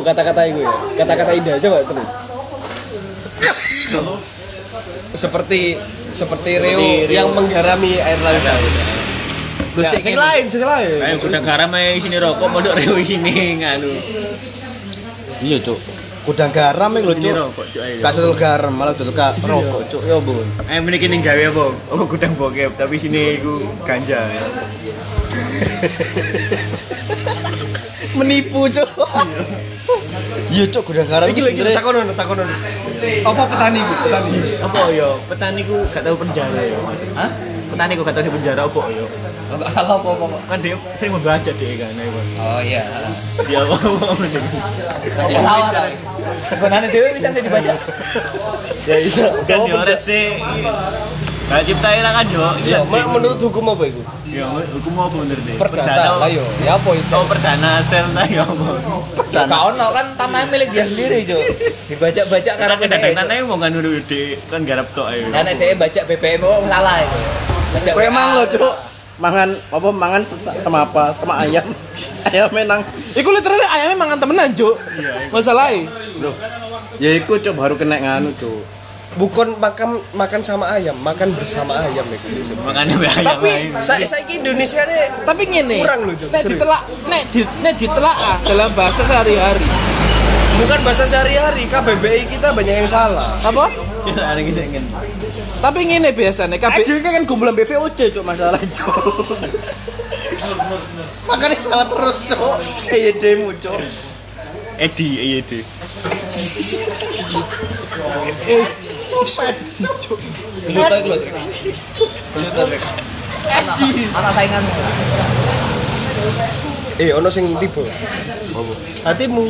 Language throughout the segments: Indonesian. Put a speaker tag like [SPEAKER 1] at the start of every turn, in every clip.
[SPEAKER 1] kata-kata itu ya kata-kata indah coba terus seperti seperti Rio
[SPEAKER 2] Rio.
[SPEAKER 1] yang menggarami air laut gosip
[SPEAKER 2] Sing lain, sing lain.
[SPEAKER 3] Ayo udah garam aja sini rokok, masuk rewo sini nganu.
[SPEAKER 2] Iya, Cuk. Udang garam iki lho,
[SPEAKER 3] Ini
[SPEAKER 2] Cuk.
[SPEAKER 3] rokok cuk ayo.
[SPEAKER 2] Gak cetul garam, malah cetul ka
[SPEAKER 1] Iya.
[SPEAKER 2] rokok, Cuk. Ya ampun.
[SPEAKER 3] Eh meniki ning gawe apa? Apa gudang bokep, tapi sini iku ganja.
[SPEAKER 2] Menipu, Cuk. Iya, Cuk, gudang garam
[SPEAKER 1] iki lho
[SPEAKER 2] iki
[SPEAKER 1] iki
[SPEAKER 2] sebenarnya
[SPEAKER 1] takonon takonon apa petani Bu? petani
[SPEAKER 3] Apa ya? Petani ku gak tau penjara ya. Hah? Petani ku gak tau di penjara apa ya?
[SPEAKER 1] Nggak salah apa apa
[SPEAKER 3] Kan dia sering membaca dia kan. ayo.
[SPEAKER 1] oh iya
[SPEAKER 3] Dia apa apa dia.
[SPEAKER 1] Nggak salah tapi sebenarnya dewi bisa saya dibaca
[SPEAKER 2] ya bisa.
[SPEAKER 3] Kan
[SPEAKER 2] Kamu
[SPEAKER 3] dia
[SPEAKER 2] pencet.
[SPEAKER 3] orang sih. Gak cipta lah kan yo.
[SPEAKER 1] iya mak, menurut hukum apa itu
[SPEAKER 3] Ya hukum apa bener deh.
[SPEAKER 1] perdata lah yo ya apa itu
[SPEAKER 3] Oh perdana sel lah ya apa.
[SPEAKER 1] Ya, nggak ono kan tanah milik dia sendiri jo dibaca-baca karena
[SPEAKER 3] Tapi
[SPEAKER 1] kita
[SPEAKER 3] kadang-kadang ayo mau nganu dulu deh. Kan garap tok ayo.
[SPEAKER 1] Nah, nek dhek baca BBM kok salah itu. oh, Baca
[SPEAKER 2] Kowe
[SPEAKER 1] WA.
[SPEAKER 2] emang lho, Cuk. Mangan apa mangan se- sama apa? Sama ayam. Ayam menang.
[SPEAKER 4] Iku literally ayamnya mangan temenan, Cuk.
[SPEAKER 2] Iya,
[SPEAKER 4] Masalahnya
[SPEAKER 2] Ya iku, Cuk, baru kena nganu, Cuk.
[SPEAKER 1] bukan makan makan sama ayam, makan bersama ayam
[SPEAKER 2] Iya,
[SPEAKER 1] itu.
[SPEAKER 3] Makannya be ayam
[SPEAKER 4] Tapi-
[SPEAKER 3] ayo.
[SPEAKER 1] Saya saya ki Indonesia ini
[SPEAKER 4] tapi ngene.
[SPEAKER 1] Kurang lho, Cuk,
[SPEAKER 4] Nek
[SPEAKER 1] serius.
[SPEAKER 4] ditelak, nek di nek ditelaah dalam bahasa sehari-hari.
[SPEAKER 1] bukan bahasa sehari-hari. KBBI kita banyak yang salah.
[SPEAKER 4] Apa?
[SPEAKER 3] Cuk, Ada kisah ingin.
[SPEAKER 4] Tapi ngene biasanya
[SPEAKER 2] Tapi
[SPEAKER 4] kabeh
[SPEAKER 2] kan gombelan BVOC, Cuk, masalah, Cuk. Makanya salah terus, Cuk. Kayak Iya, demo, Cuk.
[SPEAKER 3] Edi, iya Edi.
[SPEAKER 1] Gelut ae gelut. Gelut ae. Anak saingan. Eh, ono sing tiba. Hatimu.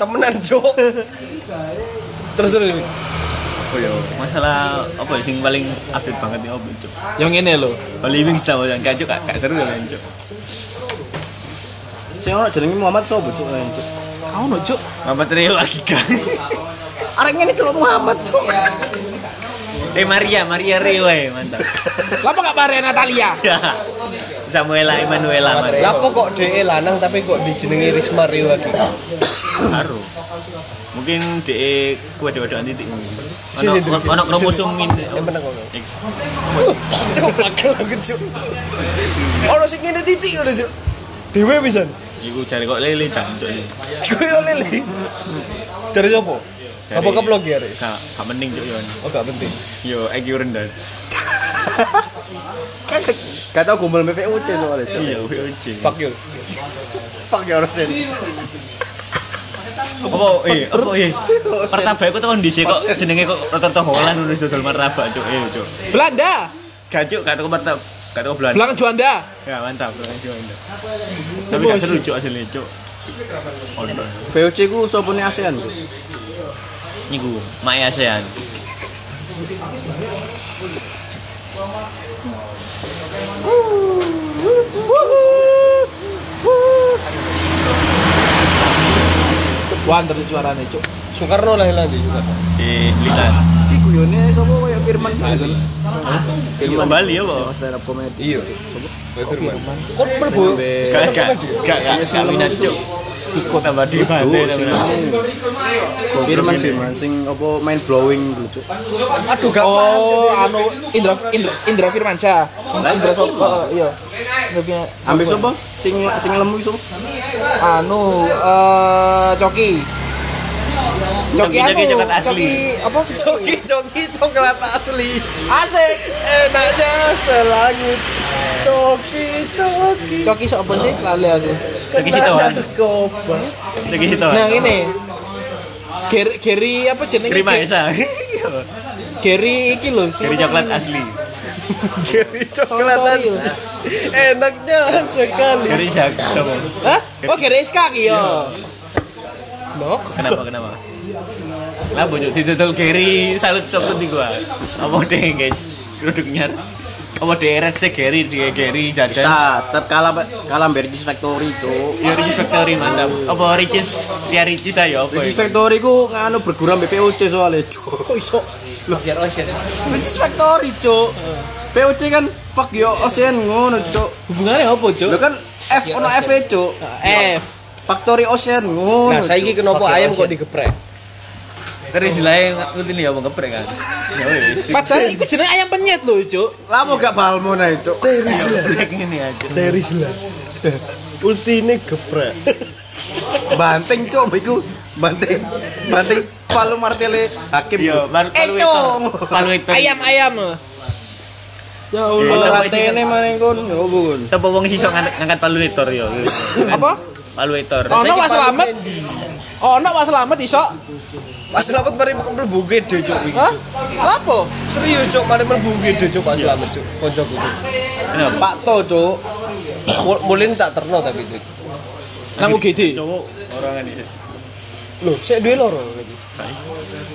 [SPEAKER 1] Temenan, Cuk. Terus terus.
[SPEAKER 3] Oh ya, masalah apa ya, sing paling update banget nih apa cuk?
[SPEAKER 4] yang ngene lho.
[SPEAKER 3] Oh, living sama yang kacuk gak gak seru kan cuk.
[SPEAKER 2] Sing ono jenenge Muhammad sapa, Cuk? Eh, Cuk.
[SPEAKER 4] Kau no, Cuk.
[SPEAKER 3] Mama Trio lagi kan.
[SPEAKER 2] Arek ngene celok Muhammad, Cuk.
[SPEAKER 3] Eh Maria, Maria Rio eh mantap.
[SPEAKER 4] Lapa gak pare Natalia?
[SPEAKER 3] Ya. Samuela Emanuela Maria.
[SPEAKER 1] Lapo kok DE lanang tapi kok dijenengi Risma Rio lagi?
[SPEAKER 3] Haru. Mungkin de kue dewa doan titik.
[SPEAKER 1] Si, si,
[SPEAKER 3] Ono ono kromosom ini.
[SPEAKER 1] Yang menang kok.
[SPEAKER 3] X.
[SPEAKER 1] Cuk, pegel aku cuk. Ono sing ngene titik ngono cuk. Dewe pisan.
[SPEAKER 3] Iku cari kok lele jam cuk.
[SPEAKER 1] Kowe oleh li. Dari sapa? Apa keblok ya, Rek?
[SPEAKER 3] Gak gak mending cuk yo.
[SPEAKER 1] Oh, gak penting.
[SPEAKER 3] Yo IQ rendah.
[SPEAKER 2] Kan gak tau gombel BVOC soalnya, Cuk.
[SPEAKER 3] Iya, WOC.
[SPEAKER 1] Fuck you.
[SPEAKER 2] Fuck ya orang sini.
[SPEAKER 3] Apa eh apa eh martabak iku tekan dhisik kok jenenge kok rata-rata Holland nulis dodol martabak cuk. Eh cuk.
[SPEAKER 4] Belanda,
[SPEAKER 3] Gacuk gak tau mantap. Gak tau Belanda.
[SPEAKER 4] belakang Juanda.
[SPEAKER 3] Ya mantap. Belanda juga mantap. Tapi gak seru cuk asli cuk. Oh, no.
[SPEAKER 2] VOC ku sapa nih ASEAN, Cuk?
[SPEAKER 3] Niku mak ASEAN.
[SPEAKER 4] Wonder suarane, Cuk.
[SPEAKER 1] Soekarno lah lagi.
[SPEAKER 3] Di Blitar.
[SPEAKER 2] Iki guyone sapa kaya Firman gitu.
[SPEAKER 3] Film Bali ya, Pak.
[SPEAKER 2] Stand up comedy.
[SPEAKER 1] Iya. Kowe
[SPEAKER 2] Oh,
[SPEAKER 1] firman. Kok mlebu?
[SPEAKER 3] Gak gak gak gak gak minat cuk. Kok tambah di mana tambah di mana.
[SPEAKER 2] Firman Firman sing apa mind blowing dulu, Cuk.
[SPEAKER 1] Aduh, gak paham.
[SPEAKER 4] Oh, anu Indra Indra Indra Firmansyah. Indra Sopo, iya. Indra Firman-
[SPEAKER 2] Ambil sapa? Sing sing lemu iso.
[SPEAKER 4] Anu eh Coki. Coki
[SPEAKER 3] Coki-
[SPEAKER 4] anu,
[SPEAKER 3] Coki coklat asli.
[SPEAKER 4] Coki apa?
[SPEAKER 1] Coki coki coklat asli.
[SPEAKER 4] Asik.
[SPEAKER 1] Enaknya selangit. Coki coki.
[SPEAKER 4] Coki sopo sih? Lali aku.
[SPEAKER 3] Coki Sitohang.
[SPEAKER 1] Narkoba.
[SPEAKER 3] Lagi itu.
[SPEAKER 4] Nah, ini. Geri, Geri apa jenenge?
[SPEAKER 3] Terima ya, Sa.
[SPEAKER 4] Geri iki lho. sing-
[SPEAKER 3] Dari coklat asli.
[SPEAKER 1] Jadi coklat
[SPEAKER 4] Sorry,
[SPEAKER 1] asli.
[SPEAKER 4] lho.
[SPEAKER 1] Enaknya sekali.
[SPEAKER 3] Dari Zak. Sama.
[SPEAKER 4] Hah? Oh, Geri Iskak iya. Loh,
[SPEAKER 3] Kenapa kenapa? Lah bojok didodol Gary salut coklat di gua. Apa deh guys? Kerudungnya. Apa deh red se Gary di Gary jajan.
[SPEAKER 2] Nah, tetep kalah kalah Bergis Factory, Cuk.
[SPEAKER 3] Ya Ricis Factory mantap. Apa Ricis? Ya Ricis ayo apa?
[SPEAKER 2] Bergis
[SPEAKER 3] ya?
[SPEAKER 2] Factory ku nganu berguram BPOC soalnya, Cuk.
[SPEAKER 4] kok iso?
[SPEAKER 1] Biar ocean.
[SPEAKER 2] Bergis Factory, Cuk. POC kan fuck yo ocean ngono, Cuk.
[SPEAKER 4] Hubungannya apa, Cuk?
[SPEAKER 2] Lo kan F ono F, Cuk.
[SPEAKER 4] F.
[SPEAKER 2] e, Factory Ocean ngono.
[SPEAKER 1] Nah, saiki kenapa
[SPEAKER 4] Pakai
[SPEAKER 1] ayam
[SPEAKER 4] ocean.
[SPEAKER 1] kok digeprek?
[SPEAKER 3] Terus istilahnya ngikutin ya mau geprek kan. Ya wis.
[SPEAKER 4] Padahal itu jeneng ayam penyet loh, Cuk.
[SPEAKER 2] Lamo gak balmo nae, Cuk.
[SPEAKER 1] Teris lah,
[SPEAKER 3] Geprek ini aja.
[SPEAKER 1] teris lah. Ultine geprek.
[SPEAKER 2] Banting, Cuk, iku. Banting. Banting palu martele hakim.
[SPEAKER 3] Yo, baru
[SPEAKER 2] Eh, Cuk.
[SPEAKER 3] Kalau itu.
[SPEAKER 4] Ayam-ayam. Ya
[SPEAKER 3] Eh,
[SPEAKER 4] Allah.
[SPEAKER 3] sama
[SPEAKER 2] Ratene maning kon, yo bun.
[SPEAKER 3] Sapa wong iso ngangkat ngangkat paluitor yo.
[SPEAKER 4] Apa?
[SPEAKER 3] Paluitor.
[SPEAKER 1] Oh,
[SPEAKER 4] Ono Pak Slamet. Oh, Ono Pak Slamet iso.
[SPEAKER 1] Pas selamat mari mlebu gede cuk iki.
[SPEAKER 4] Hah? Lapo?
[SPEAKER 1] Serius cuk, mari mlebu gede cuk pas selamat cuk. Kanca kudu.
[SPEAKER 3] Kenapa?
[SPEAKER 1] Pak To cuk. Mul- Mulin tak terno tapi cuk.
[SPEAKER 4] Nang UGD.
[SPEAKER 3] Cowok orang ini.
[SPEAKER 1] Loh, sik duwe loro lagi.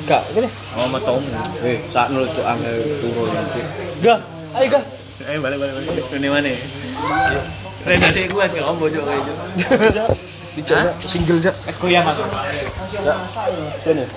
[SPEAKER 1] Gak, kene.
[SPEAKER 3] Oh, mau tomu.
[SPEAKER 2] Eh, sak nol Cuk angel turun. Cuk.
[SPEAKER 1] Gak. Ayo gak.
[SPEAKER 3] Eh, balik balik balik. Ini mana? Rene sih kuat gak ombo cok kayak cok. Eh,
[SPEAKER 1] Dicoba single cuk.
[SPEAKER 4] Goyang aku.